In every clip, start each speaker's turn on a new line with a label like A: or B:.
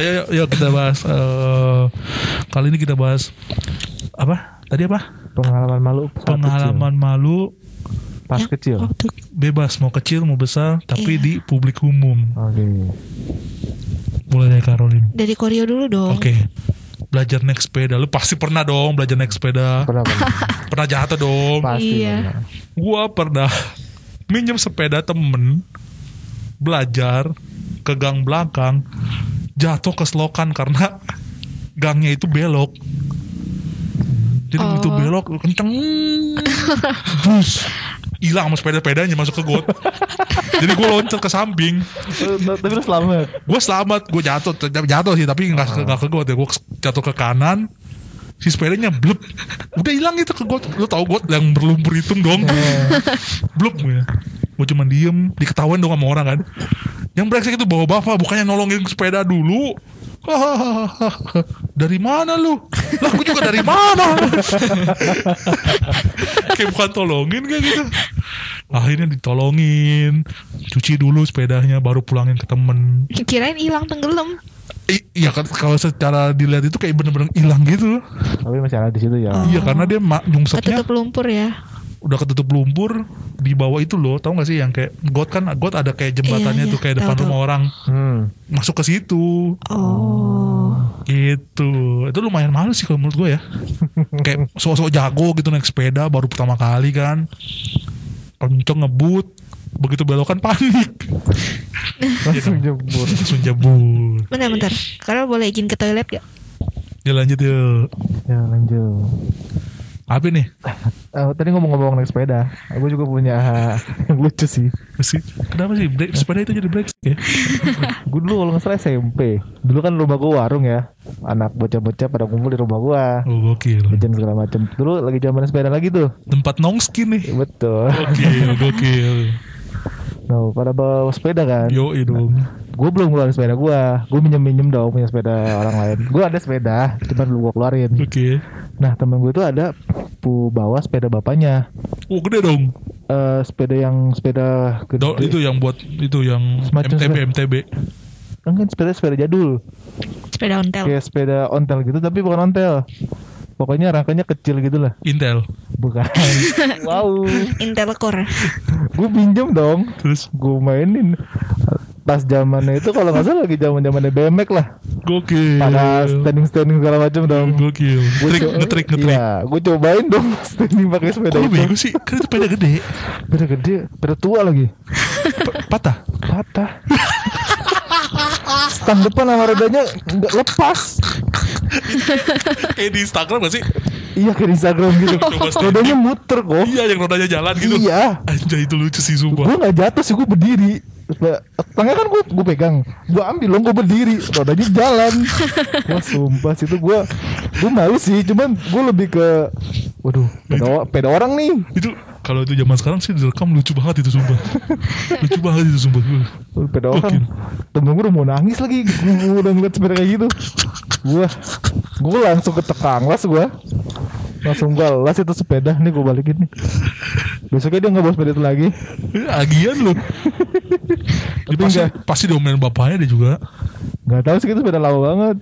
A: Ayo, yuk, yuk kita bahas. eh, kali ini kita bahas apa? Tadi apa?
B: Pengalaman malu saat
A: Pengalaman malu
B: kecil. pas kecil.
A: Iya.
C: Waktu
A: bebas mau kecil mau besar tapi
C: Iya.
A: di publik umum.
B: Oke.
A: Mulai dari Karolin.
C: dari Koryo dulu dong.
A: Oke. Belajar naik sepeda. Lu pasti pernah dong belajar naik sepeda.
B: Pernah pernah.
A: Pernah jatuh dong.
B: Pasti
C: Iya.
B: pernah.
A: Gua pernah minjem sepeda temen belajar ke gang belakang jatuh ke selokan karena gangnya itu belok. Jadi
C: Oh.
A: itu belok kenceng. Bus. Hilang sama sepeda-pedanya masuk ke got. Jadi gue loncat ke samping.
B: Eh, Tapi lu selamat.
A: gue selamat gue jatuh t- jatuh sih tapi nggak nggak ke got ya gue jatuh ke kanan si sepedanya blep udah hilang itu ke got lu tau got yang berlumpur itu dong
B: Eh,
A: blep gue gue ya. cuman diem diketawain dong sama orang kan yang brengsek itu bawa bapak bukannya nolongin sepeda dulu Hahaha. dari mana lu? Lah aku juga dari mana? Kayak bukan tolongin kayak gitu. Akhirnya ditolongin, cuci dulu sepedanya baru pulangin ke temen.
C: Kirain hilang tenggelam.
A: I- Iya kan kalau secara dilihat itu kayak bener-bener hilang gitu.
B: Tapi masih ada di situ ya.
C: Oh.
A: Iya karena dia ma- nyungsepnya
C: Ketutup lumpur ya.
A: udah ketutup lumpur di bawah itu loh. Tahu nggak sih yang kayak got kan got ada kayak jembatannya
C: Iya, iya.
A: tuh kayak
C: Tahu,
A: depan
C: tahu.
A: rumah orang
B: Hmm.
A: masuk ke situ
C: Oh.
A: gitu. Itu lumayan malu sih kalau menurut gue ya. kayak sosok jago gitu naik sepeda baru pertama kali kan. Kenceng ngebut begitu belokan panik
B: Langsung jebur.
A: langsung jebur
C: Bentar-bentar. Karena boleh izin ke toilet gak?
A: ya lanjut yuk
B: Ya lanjut.
A: apa nih
B: Eh, tadi ngomong-ngomong naik sepeda, gue juga punya yang lucu sih.
A: Masih- kenapa sih break, sepeda itu jadi break ya
B: Gue dulu kalau nggak salah SMP, dulu kan rumah gue warung ya, anak bocah-bocah pada kumpul di rumah gue,
A: oh gokil
B: jajan segala macam. Dulu lagi zaman sepeda lagi tuh,
A: tempat nongski nih
B: Ya, betul.
A: gokil gokil
B: Nah, pada bawa sepeda kan,
A: yo dong
B: gue belum keluarin sepeda gue, gue minjem minjem dong punya sepeda orang lain. Gue ada sepeda, cuma belum gue keluarin.
A: oke
B: Nah temen gue tuh ada pu bawa sepeda bapaknya,
A: oh gede dong
B: Eh sepeda yang sepeda gede.
A: Do- itu yang buat itu yang
B: Semacam
A: MTB
B: sepeda.
A: MTB
B: Kan sepeda sepeda jadul.
C: Sepeda
A: Iya.
C: ontel.
B: kayak sepeda ontel gitu tapi bukan ontel pokoknya rangkanya kecil gitu lah
A: Intel
B: bukan wow
C: Intelcore.
B: gue pinjam dong
A: terus
B: gue mainin pas zamannya itu kalau nggak salah lagi zaman zamannya BMX lah
A: gokil
B: pada
A: Iya.
B: standing standing segala macam dong
A: gokil
B: Gua
A: trik
B: co-
A: ngetrik ngetrik
B: Iya, gue cobain dong standing pakai sepeda
A: Kok lu bego
B: itu.
A: sih? Kan itu sepeda gede
B: Sepeda gede, sepeda tua lagi.
A: Pa- Patah
B: Patah. Stang depan sama rodanya nggak lepas.
A: Kayak Eh, di Instagram gak sih?
B: Iya kayak di Instagram gitu.
A: Coba standing.
B: Rodanya muter kok.
A: Iya yang rodanya jalan gitu
B: Oh. Iya.
A: Anjay itu lucu sih
B: gue
A: sumpah
B: nggak jatuh sih gue berdiri Ba- tangan kan gue gue pegang gue ambil dong gue berdiri rodanya jalan wah sumpah situ gue gue malu sih cuman gue lebih ke waduh peda, peda orang nih
A: Itu kalau itu zaman sekarang sih direkam lucu banget itu sumpah Lucu banget itu sumpah
B: Waduh, peda orang temen gue udah mau nangis lagi gue udah ngeliat sepeda kayak gitu gue gue langsung ke tekanglas gue langsung balas itu sepeda nih gue balikin nih besoknya dia nggak bawa sepeda itu lagi
A: Eh, Agian lu Dia
B: Tapi
A: pasti,
B: enggak.
A: pasti diomelin bapaknya dia juga
B: nggak tahu sih itu sepeda lama banget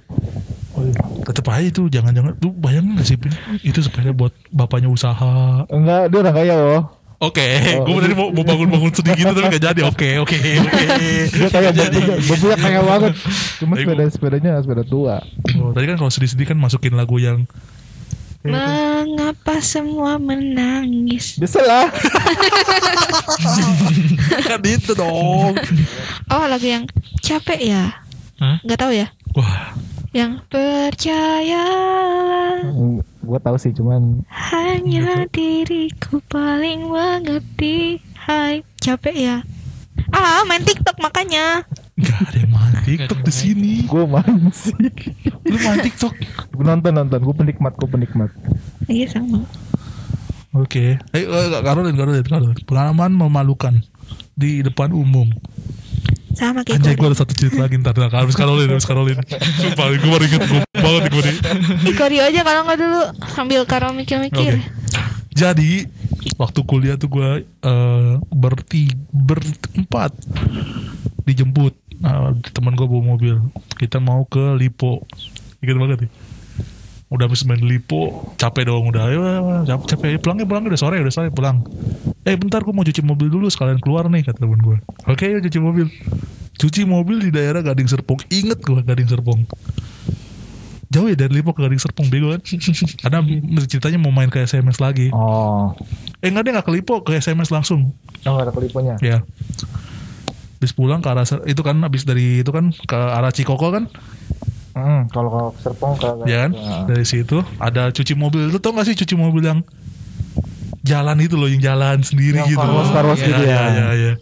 B: Oh, iya.
A: tetep aja itu jangan-jangan tuh bayangin gak sih Pin? itu sepeda buat bapaknya usaha
B: enggak dia orang kaya loh
A: oke gue tadi mau, mau bangun-bangun sedikit gitu tapi gak jadi oke oke oke
B: Dia kayak
A: Nggak jadi.
B: babunya, babunya kayak banget. Cuma
A: Tapi
B: sepeda sepedanya sepeda tua.
A: Oh, tadi kan kalau sedih-sedih kan masukin lagu yang
C: Mengapa semua menangis?
B: Bisa lah.
A: kan itu dong
C: Oh lagu yang capek ya?
A: Hah?
C: Gak tahu ya?
A: wah
C: Yang percayalah
B: Gua tahu sih cuman
C: hanya
A: Gitu.
C: diriku paling mengerti. Hai capek ya? Ah main TikTok makanya.
A: nggak ada yang main TikTok di sini
B: gua main sih.
A: lu main TikTok
B: Gua nonton nonton, gua penikmat, gua penikmat.
C: Iya sama.
A: Oke. Eh, eh, Karolin, Karolin, Karolin. Pengalaman memalukan di depan umum.
C: Sama kayak
A: Anjay, gue
C: Korea.
A: ada satu cerita lagi ntar. ntar. Harus Karolin, harus Karolin. Sumpah, gue baru inget gue banget gue nih.
C: Ih, Korea aja kalau nggak dulu sambil karo mikir-mikir.
A: Oke. Jadi waktu kuliah tuh gue eh berti berempat dijemput eh, teman gue bawa mobil kita mau ke Lipo ingat banget ya udah habis main Lipo capek dong udah ayo ayo, capek capek ayo, pulang ya pulang udah sore udah sore pulang eh bentar gue mau cuci mobil dulu sekalian keluar nih kata teman gue oke yuk cuci mobil cuci mobil di daerah Gading Serpong inget gue Gading Serpong jauh ya dari Lipo ke Gading Serpong bego kan karena ceritanya mau main ke SMS lagi
B: Oh.
A: eh enggak dia nggak ke Lipo ke SMS langsung
B: Oh, ada keliponya.
A: Ya. Habis pulang ke arah ser- itu kan habis dari itu kan ke arah Cikoko kan,
B: Hmm, kalau kalau Serpong kalau gitu.
A: ya kan? Dari situ ada cuci mobil. Lu tau gak sih cuci mobil yang jalan itu loh yang jalan sendiri
B: Yang
A: gitu.
B: Carlos, Carlos
A: Iya,
B: gitu ya.
A: Iya, iya, iya.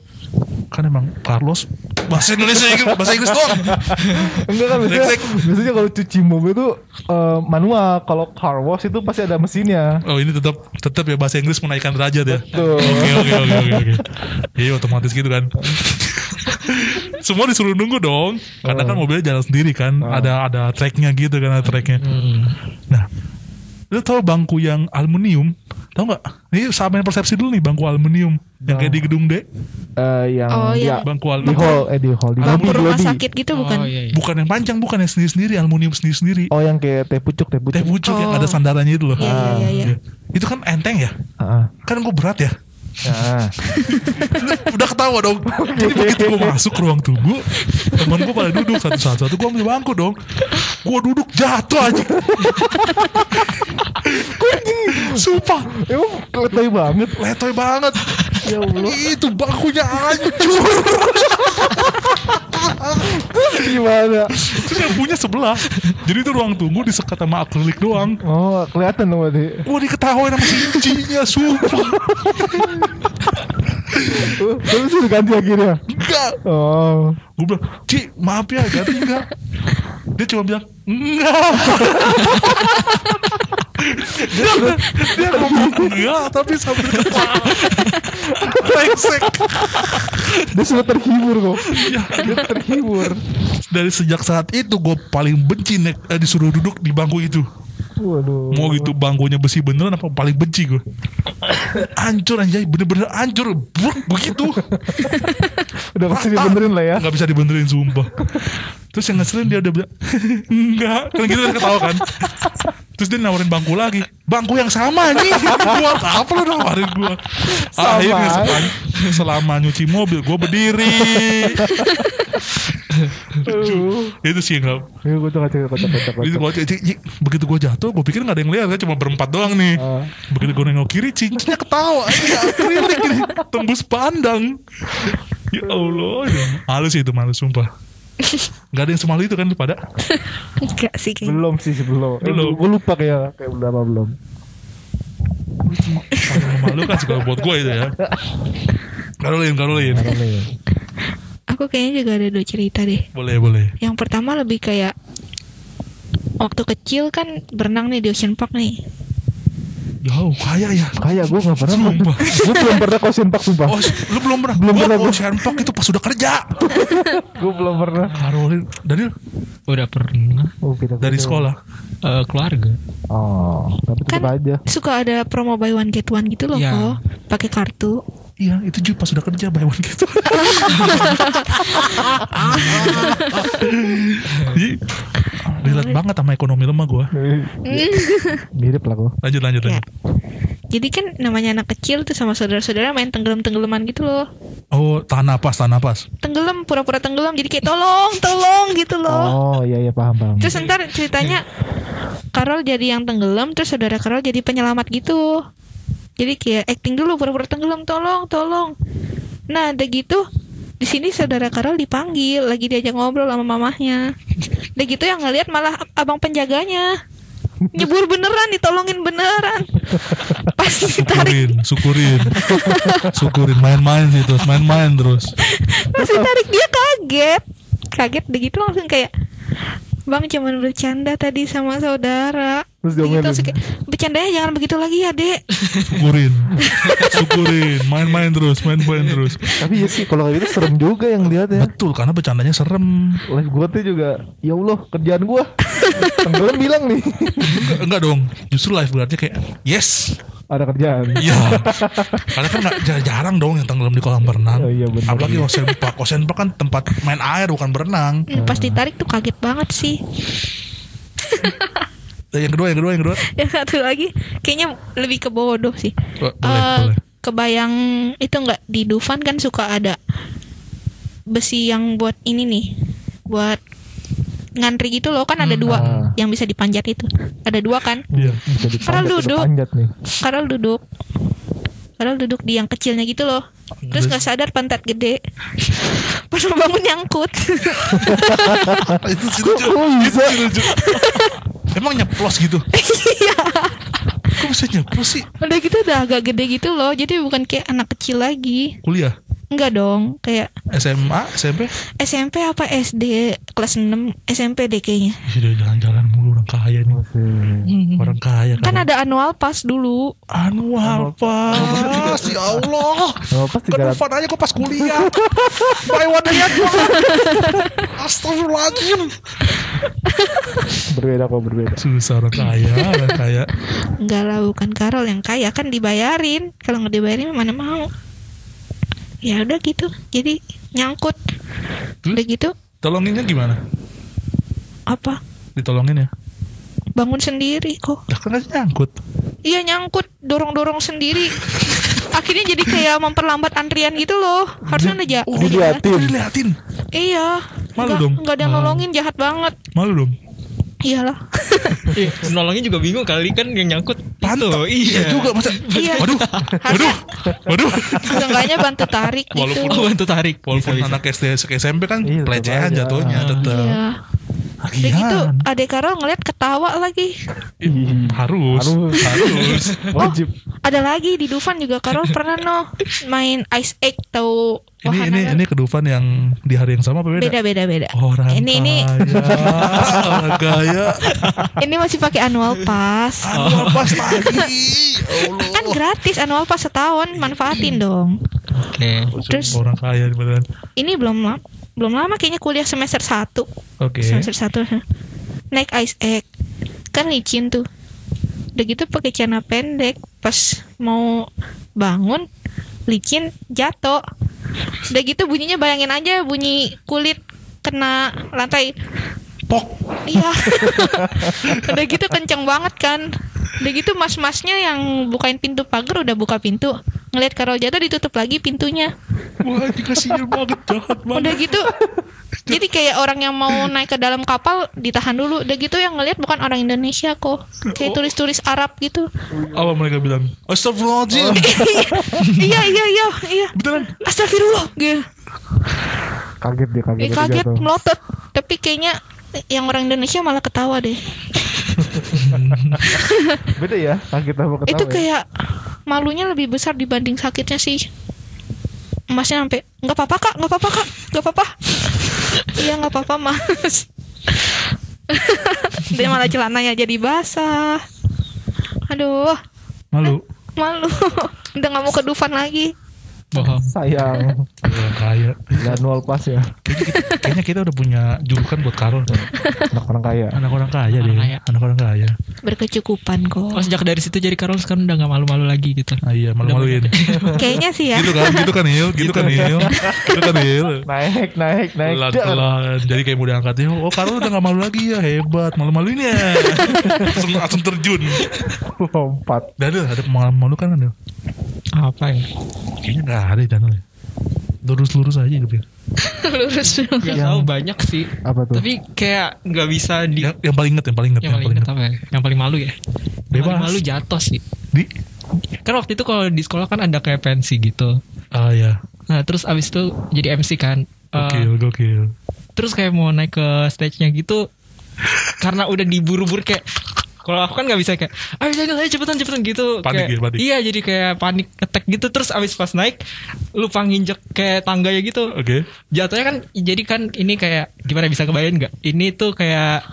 A: Kan emang Carlos bahasa Indonesia bahasa Inggris doang.
B: Enggak kan biasanya,
A: Brengsek.
B: biasanya kalau cuci mobil tuh eh, manual, kalau car wash itu pasti ada mesinnya.
A: Oh ini tetap tetap ya bahasa Inggris menaikkan derajat ya.
B: Betul.
A: Oke oke oke oke oke. Iya otomatis gitu kan. Semua disuruh nunggu dong. Karena kan mobilnya jalan sendiri kan. Ada ada tracknya gitu kan ada tracknya. Nah, lu tahu bangku yang aluminium? Tahu nggak? Ini samain persepsi dulu nih bangku aluminium yang kayak di gedung D.
B: Eh, yang
C: Oh,
B: dia-
C: iya.
A: Bangku
B: di
A: aluminium.
B: hall, eh di hall di lobby,
C: Lampu
B: di
C: rumah
B: lobby.
C: sakit gitu bukan?
D: Oh, iya, iya.
A: Bukan yang panjang, bukan yang sendiri sendiri, aluminium sendiri sendiri.
B: Oh, yang kayak teh pucuk, teh
A: Teh
B: pucuk.
A: pucuk yang
C: Oh.
A: ya, ada sandarannya itu loh.
C: Iya, iya, iya, iya.
A: Iya. Itu kan enteng ya?
B: Heeh.
A: Kan gue berat ya?
B: Heeh.
A: udah ketawa dong jadi begitu gue masuk ke ruang tunggu teman gue pada duduk satu satu satu gue ambil bangku dong gue duduk jatuh aja sumpah
B: Emang keletoy banget.
A: letoy banget
B: Ya Allah.
A: itu bangkunya hancur
B: Gimana?
A: terus yang punya sebelah jadi itu ruang tunggu disekat sama akrilik doang
B: Oh, kelihatan dong tadi.
A: gue diketawain sama sincinya sumpah
B: Uh, Terus itu ganti akhirnya.
A: enggak
B: Oh.
A: gue bilang Ci maaf ya ganti enggak dia cuma bilang enggak dia dia ngomong enggak Iya, tapi sambil ketawa Brengsek.
B: Dia sudah terhibur kok.
A: Ya,
B: Dia terhibur.
A: dari sejak saat itu gue paling benci nek, eh, disuruh duduk di bangku itu
B: Waduh.
A: mau gitu bangkunya besi beneran apa paling benci gue hancur anjay bener-bener hancur Bruk, begitu
B: Udah pasti dibenerin lah ya.
A: nggak bisa dibenerin sumpah terus yang ngeselin dia udah bilang enggak kan gitu kan ketawa kan terus dia nawarin bangku lagi bangku yang sama anjing gua apa lu nawarin gua
B: Sama.
A: akhirnya selama, selama nyuci mobil gua berdiri
B: Aduh.
A: itu sih yang nggak-
B: Ayo gue Iya, tuh kacau kocok kocok
A: itu
B: kocok.
A: gua- ci- ci- begitu gua jatuh gua pikir nggak ada yang lihat kan cuma berempat doang nih
B: Ah.
A: begitu gua nengok kiri cincinnya ketawa anjing, akrilik ini. tembus pandang ya Allah ya. halus itu malu sumpah Gak ada yang semalu itu kan lu pada
B: Ah.
C: Enggak sih kayaknya.
B: Belum sih sebelum.
A: Belum.
B: Gue lupa kayak kayak udah apa belum.
A: Paling memalukan juga buat gue itu ya Karolin, Karolin
C: Aku kayaknya juga ada dua cerita deh.
A: Boleh, boleh
C: Yang pertama lebih kayak waktu kecil kan berenang nih di Ocean Park nih.
A: Jauh, kayak ya
B: Kayak gue gak pernah
A: Sumpah.
B: Gue belum pernah kau sentak sumpah
A: Oh, lu belum pernah
B: Belum
A: Gua
B: pernah,
A: kalau
B: gua.
A: Shenpok itu pas udah kerja
B: Gue belum pernah
A: Karolin, Daniel
D: Udah pernah
B: oh, kita
A: Dari sekolah
D: eh, keluarga.
B: Oh Tapi tetep
C: Kan
B: aja
C: suka ada promo buy one get one gitu loh
D: Iya.
C: kok. Pakai kartu.
A: Iya, itu juga pas udah kerja Bayangin gitu Jadi, Relate banget sama ekonomi lemah gue
B: Mirip lah gue
A: Lanjut, lanjut,
C: Ya.
A: lanjut
C: Jadi kan namanya anak kecil tuh sama saudara-saudara main tenggelam-tenggelaman gitu loh.
A: Oh, tahan napas, tahan napas
C: Tenggelam, pura-pura tenggelam. Jadi kayak tolong, tolong gitu loh.
B: Oh iya iya paham paham
C: Terus ntar ceritanya Karol jadi yang tenggelam, terus saudara Karol jadi penyelamat gitu. Jadi kayak acting dulu pura-pura tenggelam, tolong, tolong. Nah, udah gitu di sini saudara Karol dipanggil, lagi diajak ngobrol sama mamahnya. Udah gitu yang ngelihat malah ab- abang penjaganya. Nyebur beneran, ditolongin beneran. Pas ditarik
A: Syukurin, syukurin Syukurin, main-main sih terus Main-main terus
C: Pas ditarik dia kaget Kaget begitu langsung kayak Bang cuman bercanda tadi sama saudara
B: Terus
C: Begitu
B: diomelin.
C: langsung kayak, Bercandanya jangan begitu lagi ya dek
A: syukurin syukurin main-main terus main-main terus
B: Tapi ya sih kalau kayak gitu serem juga yang lihat ya
A: betul karena bercandanya serem
B: Live gue tuh juga Ya Allah kerjaan gue Tenggelam bilang nih
A: enggak, enggak dong justru live berarti kayak yes
B: ada kerjaan.
A: Iya. Karena kan nggak- jar- jarang dong yang tenggelam di kolam berenang.
B: Oh, iya, benar.
A: Apalagi ocean park. Ocean park kan tempat main air bukan berenang.
C: Hmm, pas ditarik tuh kaget banget sih.
A: Dan Eh, yang kedua, yang kedua, yang kedua.
C: Yang satu lagi kayaknya lebih ke bodoh sih.
A: Bo- Boleh,
C: Eh,
A: boleh.
C: Kebayang itu nggak di Dufan kan suka ada besi yang buat ini nih, buat ngantri gitu loh kan ada dua
B: ah.
C: yang bisa dipanjat itu. Ada dua kan?
A: Iya.
B: Bisa dipanjat,
C: Padahal duduk.
B: panjat nih.
C: Karel duduk. Karel duduk di yang kecilnya gitu loh. Terus nggak sadar pantat gede. Pas mau bangun nyangkut.
A: Ah, itu sih lucu.
B: Kok bisa?
A: Itu sih lucu. Emang nyeplos gitu? Kok bisa nyeplos sih?
C: Iya. Udah gitu udah agak gede gitu loh. Jadi bukan kayak anak kecil lagi.
A: Kuliah?
C: Enggak dong, kayak
A: SMA? SMP?
C: SMP apa SD kelas 6 SMP deh kayaknya.
A: Ih, udah jalan-jalan mulu orang kaya nih. Orang kaya
C: Kan ada annual pass dulu.
A: Anual pas ya Allah
B: Nggak apa sih
A: ke
B: jalan.
A: Dufan aja kok pas kuliah by wadahnya doang. Astagfirullahaladzim
B: Berbeda kok berbeda.
A: susah orang kaya orang kaya
C: Enggak lah, bukan Karol yang kaya kan dibayarin. Kalau nggak dibayarin mana mau. Ya udah gitu. Jadi nyangkut.
A: Terus?
C: Udah gitu
A: tolonginnya gimana
C: apa?
A: ditolongin ya
C: Bangun sendiri kok.
A: lah kan aja nyangkut
C: Iya nyangkut dorong-dorong sendiri. Akhirnya jadi kayak memperlambat antrian gitu loh. Harusnya aja.
A: Oh,
C: udah jalan.
B: diliatin.
A: diliatin
C: Iya.
A: Malu
C: Nggak-
A: dong.
C: nggak ada yang nolongin jahat banget.
A: malu dong
C: Iyalah.
D: Ih, nolongnya Eh, juga bingung kali kan yang nyangkut
A: Pantat.
D: itu. Iya.
A: juga masa
C: Iya.
A: waduh waduh waduh
C: Seenggaknya bantu tarik gitu.
A: Walaupun-
D: Oh, bantu tarik.
A: walaupun
D: Bisa, bisa.
A: anak SD SMP kan
B: Iya, tetap
A: pelecehan
B: aja.
A: jatuhnya tetap
C: Iya. Udah
A: Iya.
C: gitu adek Karol ngeliat ketawa lagi.
B: Ih,
A: harus
B: Harus.
A: harus
B: Wajib.
C: Ada lagi di Dufan juga Karol pernah no main ice egg tau kan?
A: ini ini ini kedufan yang di hari yang sama apa beda
C: beda beda beda.
A: Orang
C: ini ini
A: kaya, orang kaya.
C: ini masih pakai annual pass.
A: Aduh, pas lagi. Ya Allah.
C: Kan gratis annual pass setahun manfaatin dong.
D: Oke.
C: Terus-
A: orang kaya beneran.
C: Ini belum lama belum lama kayaknya kuliah semester 1
A: Oke.
C: semester 1 naik ice egg kan licin tuh udah gitu pakai celana pendek pas mau bangun licin jatuh udah gitu bunyinya bayangin aja bunyi kulit kena lantai
A: Pok.
C: iya udah gitu kenceng banget kan udah gitu mas-masnya yang bukain pintu pagar udah buka pintu ngeliat Karol jatuh ditutup lagi pintunya
A: Wah, dikasihin banget jahat
C: Udah
A: banget.
C: gitu Jadi kayak orang yang mau naik ke dalam kapal Ditahan dulu Udah gitu yang ngelihat bukan orang Indonesia kok Kayak turis-turis Arab gitu
A: Apa mereka bilang? Astagfirullahaladzim.
C: Iya iya iya iya
A: Beneran.
C: Astagfirullah gitu.
B: Kaget dia kaget.
C: Dia kaget melotot Tapi kayaknya yang orang Indonesia malah ketawa deh
B: Beda ya. Kaget sama ketawa.
C: Itu
B: ya.
C: kayak malunya lebih besar dibanding sakitnya sih Masnya sampai nggak apa-apa kak nggak apa-apa kak nggak apa-apa Iya nggak apa-apa mas Dia malah celananya jadi basah Aduh
A: Malu.
C: malu udah nggak mau ke Dufan lagi
D: Bohong.
B: sayang.
A: Orang Iya, kaya.
B: Dan wall pass ya.
A: Kayaknya kita udah punya julukan buat Karol. tau.
B: Anak orang kaya.
A: Anak orang kaya
D: Orang
A: deh.
D: kaya.
A: Anak orang kaya.
C: berkecukupan
D: Oh,
C: kok
D: sejak dari situ jadi Karol sekarang udah nggak malu-malu lagi gitu.
A: Ah, iya, malu-maluin.
C: kayaknya sih ya
D: Iya.
A: Gitu kan, gitu kan Il, gitu kan Il. Gitu kan Il.
B: Naik naik naik. Dar.
A: Pelan-pelan Jadi kayak mau diangkatnya Oh Karol udah gak malu lagi ya Hebat Malu-maluin ya langsung, langsung terjun
B: Lompat.
A: Daniel ada pengalaman malu kan Daniel
D: Apa ya?
A: Kayaknya gak ada ya, Daniel ya Lurus-lurus aja gitu ya
C: lurus dulu
D: Gak
B: Yang-
D: tahu banyak sih.
B: Apa tuh?
D: Tapi kayak nggak bisa di.
A: yang, yang paling inget Ya, Yang paling inget
D: yang paling inget apa ya? Yang paling malu ya? Yang
A: Bebas.
D: paling malu jatuh sih.
A: Di
D: Kan waktu itu kalau di sekolah kan ada kayak pensi gitu.
A: Ah ya
D: Nah terus abis itu jadi MC kan. Eh,
A: Gokil Gokil
D: terus kayak mau naik ke stage-nya gitu karena udah diburu-buru kayak kalau aku kan nggak bisa kayak ayo Daniel ayo cepetan cepetan gitu
A: Panik
D: kayak,
A: ya, panik.
D: iya jadi kayak panik attack gitu terus abis pas naik lupa nginjek kayak tangga ya gitu
A: Oke
D: jatuhnya kan jadi kan ini kayak gimana bisa kebayang nggak ini tuh kayak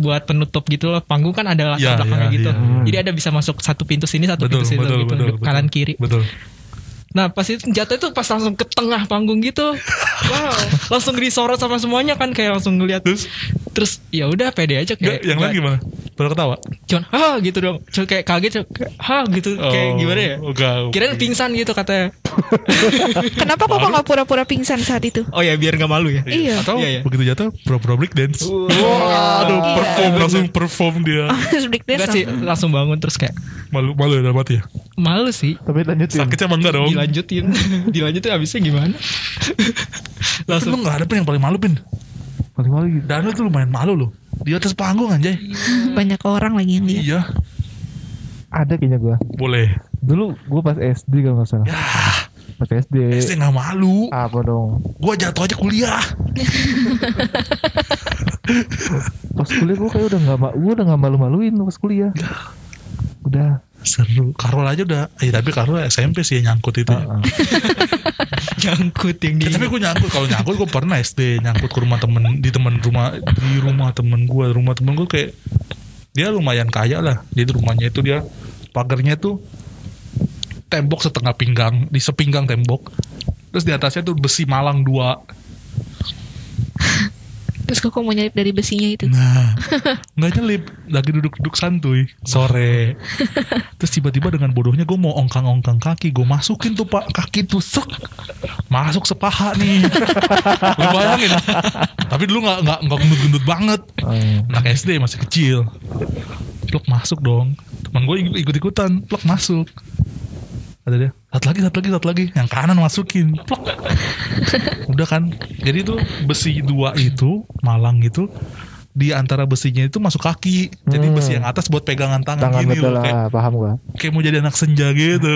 D: buat penutup gitu loh panggung kan ada
A: Iya,
D: latar belakangnya
A: iya,
D: gitu
A: iya, iya.
D: jadi ada bisa masuk satu pintu sini satu
A: Betul
D: pintu sini
A: betul,
D: gitu,
A: betul, betul
D: kanan kiri
A: Betul
D: Nah pas itu jatuh itu pas langsung ke tengah panggung gitu, wow, langsung disorot sama semuanya kan kayak langsung ngeliat.
A: Terus?
D: Terus ya udah pede aja
A: Nggak, Yang
D: kayak.
A: lain
D: nggak-
A: gimana Baru ketawa.
D: cuman ah gitu dong cuman kayak kaget cuman kayak, ah gitu kayak
A: Oh,
D: gimana ya
A: enggak.
D: kirain pingsan gitu katanya
C: Kenapa kok nggak pura-pura pingsan saat itu?
D: oh ya biar nggak malu ya
C: Iya.
A: Atau
D: Iya, iya.
A: Oh, begitu jatuh pura-pura break dance. Aduh,
C: Iya.
A: perform langsung perform dia.
C: Break dance
D: Enggak sih
C: langsung.
D: langsung bangun terus kayak
A: Malu malu ya dalam hati ya.
D: malu sih
B: Tapi lanjutin.
A: Sakitnya emang enggak dong.
D: dilanjutin dilanjutin abisnya gimana
A: Tapi lu
D: langsung
A: enggak ada pin yang paling malu pin.
B: Paling malu gitu.
A: Daniel tuh lumayan malu loh. Di atas panggung anjay.
C: Banyak orang lagi yang lihat.
A: Iya.
B: Ada kayaknya gua.
A: Boleh.
B: Dulu gua pas SD kalau nggak salah. Pas SD.
A: SD enggak Ya, malu.
B: Apa dong?
A: Gua jatuh aja kuliah.
B: Pas kuliah gua kayak udah nggak ma- gua udah nggak malu-maluin pas kuliah. Udah.
A: Seru. Karol aja udah. Eh tapi Karol SMP sih yang nyangkut itu. ya.
B: Ah, ah.
D: nyangkut yang di
A: Ya, tapi gue nyangkut kalau nyangkut gue pernah SD nyangkut ke rumah temen di temen rumah di rumah temen gue rumah temen gue kayak dia lumayan kaya lah jadi rumahnya itu dia pagarnya tuh tembok setengah pinggang di sepinggang tembok terus di atasnya tuh besi malang dua
C: Terus kok mau nyelip dari besinya itu?
A: nah nggak nyelip lagi duduk-duduk santuy sore terus tiba-tiba dengan bodohnya gue mau ongkang-ongkang kaki gue masukin tuh pak kaki tuh sek masuk sepaha nih lu bayangin tapi dulu nggak nggak nggak gendut-gendut banget
B: Ah, iya.
A: anak SD masih kecil plok masuk dong teman gue ikut ikutan plok masuk ada dia satu lagi satu lagi satu lagi yang kanan masukin plok udah kan jadi itu besi dua itu malang itu di antara besinya itu masuk kaki jadi
B: Hmm.
A: besi yang atas buat pegangan tangan,
B: Tangan
A: gini
B: betul
A: loh kayak,
B: lah, paham gua.
A: kayak mau jadi anak senja gitu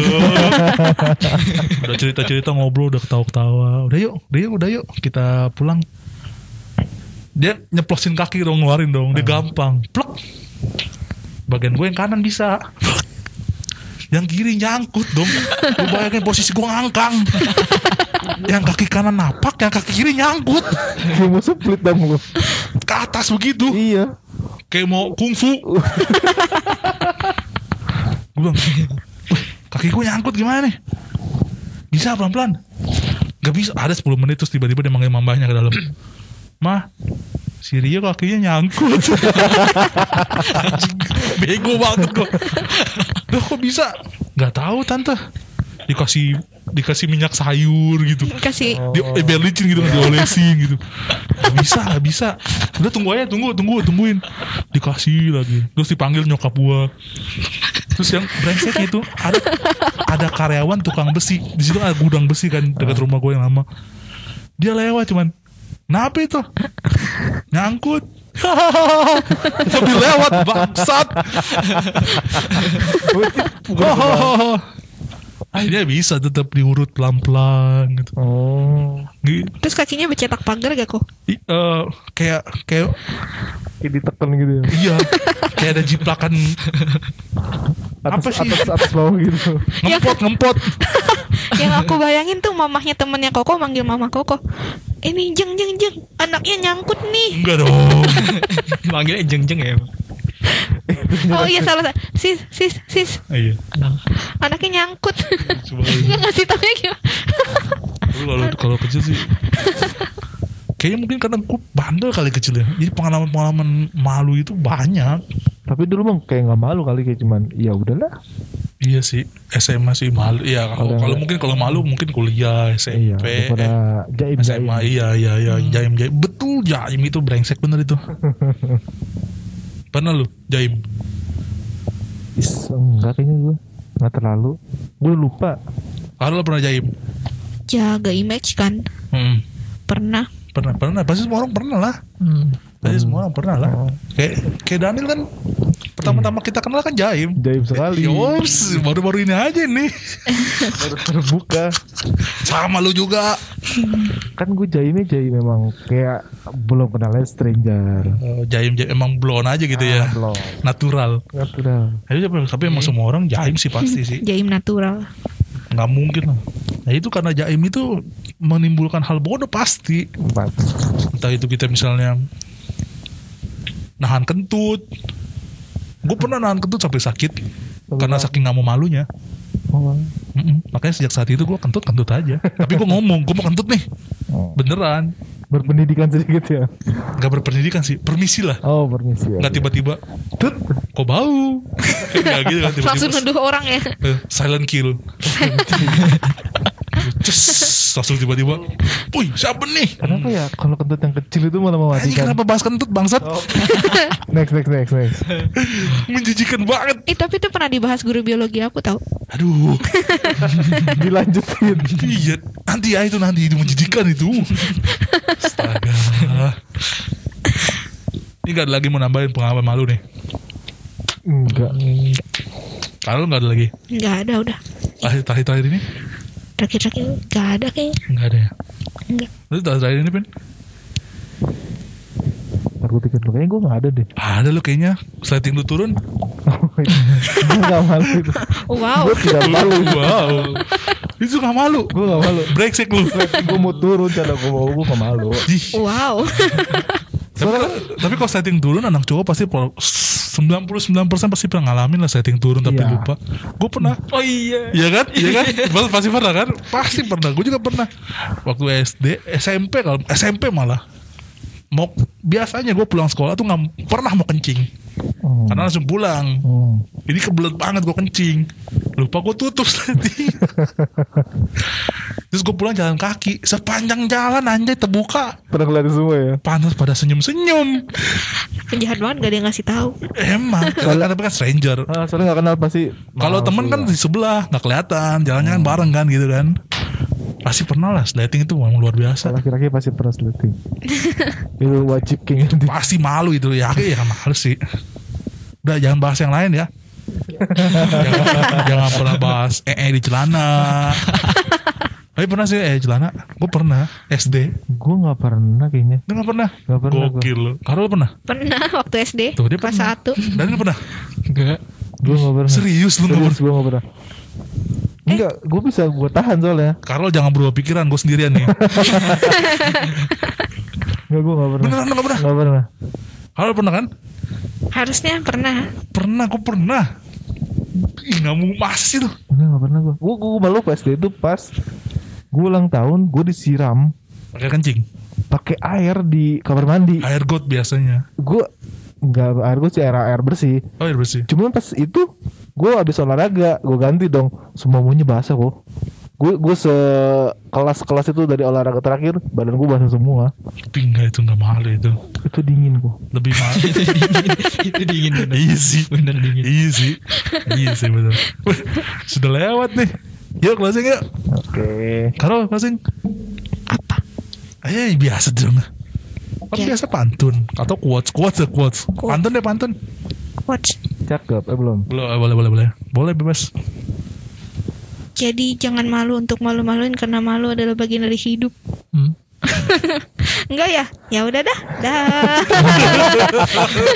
A: udah cerita cerita ngobrol udah ketawa ketawa udah yuk udah yuk udah yuk kita pulang dia nyeplosin kaki dong ngeluarin dong dia gampang plek bagian gue yang kanan bisa yang kiri nyangkut dong lu bayangin posisi gue ngangkang yang kaki kanan napak yang kaki kiri nyangkut
B: Kayak mau split dong lu.
A: ke atas begitu
B: Iya.
A: kayak mau kungfu. gue bilang, "Wih, kaki gue nyangkut gimana nih? Bisa pelan-pelan. Gak bisa. Ada 10 menit terus tiba-tiba dia manggil mamahnya ke dalam. Mah, si Rio kakinya nyangkut. Anjing, Bego banget kok. Loh kok bisa? Gak tahu tante. Dikasih dikasih minyak sayur gitu
C: Kasih
A: dia eh, biar licin gitu kan diolesin gitu Gak bisa gak bisa udah tunggu aja tunggu tunggu tungguin dikasih lagi terus dipanggil nyokap gua terus yang brengsek itu ada ada karyawan tukang besi di situ ada gudang besi kan dekat rumah gua yang lama dia lewat cuman kenapa itu nyangkut tapi lewat bangsat oh. akhirnya bisa tetap diurut pelan-pelan gitu
B: Oh.
A: Gi-
C: Terus kakinya bercetak pagar gak kok?
A: I- eh, kayak kayak
B: Kayak ditekan gitu ya.
A: iya kayak ada jiplakan
B: Atas,
A: Apa sih?
B: atas, atas bawah gitu.
A: ngempot ngempot
C: Yang aku bayangin tuh mamahnya temennya Koko manggil mama Koko. Ini jeng jeng jeng, anaknya nyangkut nih.
A: enggak dong
D: manggilnya jeng jeng ya emang.
C: Oh iya salah, salah. sis sis sis,
A: iya
C: anaknya nyangkut.
A: coba
C: Nggak ngasih tau gimana?
A: lu kalau kalau kecil sih kayaknya mungkin karena gue bandel kali kecil ya jadi pengalaman pengalaman malu itu banyak
B: Tapi dulu bang kayak nggak malu kali kayak cuman ya udahlah.
A: iya sih SMA sih malu iya kalau
B: Ada-
A: kalau mungkin kalau malu mungkin kuliah
B: Iya.
A: SMP
B: Daripada jaim jaim. Hmm.
A: SMA iya iya iya jaim jaim betul jaim itu brengsek bener itu pernah lu jaim
B: Is, enggak kayaknya gue nggak terlalu. Gue lupa.
A: kalau lu pernah jaim
C: Jaga image kan,
A: Hmm.
C: pernah.
A: pernah pernah pasti semua orang pernah lah pasti semua orang pernah lah kayak kayak Daniel kan pertama-tama kita kenal kan Jaim
B: Jaim sekali.
A: Yops, baru-baru ini aja nih
B: Baru terbuka.
A: sama lu juga
B: Kan gue jaimnya jaim memang kayak belum kenal ya, stranger.
A: Eh, Jaim, Jaim emang blon aja gitu ya
B: Ah, Belum.
A: natural
B: Natural.
A: tapi, tapi emang semua orang Jaim sih pasti sih
C: Jaim natural.
A: nggak mungkin lah nah itu karena Jaim itu menimbulkan hal bodoh pasti
B: Empat.
A: entah itu kita misalnya nahan kentut gue pernah nahan kentut sampai sakit karena saking nggak mau malunya
B: Oh.
A: Mm-mm. Makanya sejak saat itu gue kentut kentut aja. Tapi gue ngomong, gue mau kentut nih,
B: Oh.
A: beneran.
B: berpendidikan sedikit ya
A: nggak berpendidikan sih permisi lah
B: oh permisi ya
A: nggak tiba-tiba
B: Tut.
A: kok bau nggak gitu kan tiba-tiba
C: langsung nuduh orang ya
A: eh, silent kill Cus, langsung tiba-tiba Wih siapa nih
B: kenapa ya kalau kentut yang kecil itu malah
A: Anjing
B: mematikan
A: kenapa bahas kentut bangsat
B: next next next next
A: Menjijikan banget
C: eh tapi itu pernah dibahas guru biologi aku tau
A: Aduh
B: dilanjutin
A: Iya Nanti ya itu nanti itu Menjijikan itu Astaga Ini gak ada lagi mau nambahin pengalaman malu nih
B: enggak
A: Kalau gak ada lagi
C: nggak ada udah
A: Terakhir-terakhir ini
C: terakhir-terakhir nggak ada kayaknya
A: Gak ada ya
C: Nggak.
A: Terus terakhir ini Pen
B: aku pikir dulu kayaknya gue nggak ada deh
A: Ada lo kayaknya Slating lu turun
B: gue nggak malu itu
C: wow
B: gue tidak malu
A: Wow Itu gak malu
B: gue nggak malu
A: Brengsek lu
B: gue mau turun cara gue mau gue nggak malu
A: Ih,
C: wow
A: Tapi, kalau- tapi kalau setting turun anak cowok pasti pro- 99% pasti pernah ngalamin lah setting turun tapi
B: Iya.
A: lupa. Gue pernah.
D: Oh iya.
A: Iya kan? Iya kan? Pasti- Pasti pernah kan? Pasti pernah. Gue juga pernah. Waktu SD, SMP kalau SMP malah mau biasanya gue pulang sekolah tuh nggak pernah mau kencing
B: Hmm.
A: karena langsung pulang
B: Hmm.
A: ini kebelet banget gue kencing lupa gue tutup nanti terus gue pulang jalan kaki sepanjang jalan anjay terbuka
B: pernah ngeliatin semua ya
A: panas pada senyum senyum
C: penjahat banget gak ada yang ngasih tahu
A: Emang, karena tapi kan stranger.
B: Ah, soalnya nggak kenal pasti ya.
A: Kalau
B: Malu
A: temen
B: lah.
A: kan di sebelah, nggak kelihatan, jalannya kan bareng kan gitu kan. Pasti pernah lah slating itu memang luar biasa.
B: laki-laki pasti pernah sleting itu wajib king di
A: Pasti malu itu ya, ya malu sih. Udah jangan bahas yang lain ya. jangan, jangan pernah bahas eh di celana. Tapi pernah sih eh celana, gue pernah SD,
B: gue nggak pernah kayaknya
A: lu nggak pernah?
B: Nggak pernah, gua.
A: Gokil lu. Kalau lu pernah?
C: pernah waktu SD
A: Tuh, dia
C: kelas
A: pernah.
C: satu
A: Dan lu pernah?
D: Enggak.
B: gue nggak pernah
A: Serius lu nggak
B: Serius
A: pernah?
B: gue nggak pernah Eh. enggak gue bisa gue tahan soalnya
A: Karol jangan berubah pikiran, gue sendirian nih.
B: enggak gue nggak pernah
A: Beneran lu nggak pernah?
B: nggak pernah
A: Kalau lu pernah kan?
C: harusnya pernah
A: Pernah, gue pernah. Ih, nggak mau masa sih tuh.
B: enggak nggak pernah gue gue gue malu pas itu pas gue ulang tahun gue disiram
A: Pakai kencing.
B: pakai air di kamar mandi
A: Air got biasanya.
B: gue nggak air gue sih air air bersih
A: Oh, air bersih.
B: cuman pas itu gue habis olahraga gue ganti dong semuanya basah kok gue gue se kelas kelas itu dari olahraga terakhir badan gue basah semua
A: Tapi nggak itu nggak mahal itu.
B: itu dingin kok
A: Lebih mahal.
D: Itu dingin bener.
A: iya sih.
D: Bener dingin.
A: Iya sih. Iya sih betul. Sudah lewat nih. Yuk closing yuk.
B: oke
A: Karo closing.
C: apa
A: Eh biasa dong. Kan
C: Ya.
A: biasa pantun atau quotes quotes ya quotes.
C: Quotes.
A: Pantun deh pantun.
C: watch
B: cakep eh belum
A: Boleh boleh boleh boleh. Boleh bebas.
C: jadi jangan malu untuk malu-maluin karena malu adalah bagian dari hidup
A: Hmm.
C: enggak ya ya udah dah dah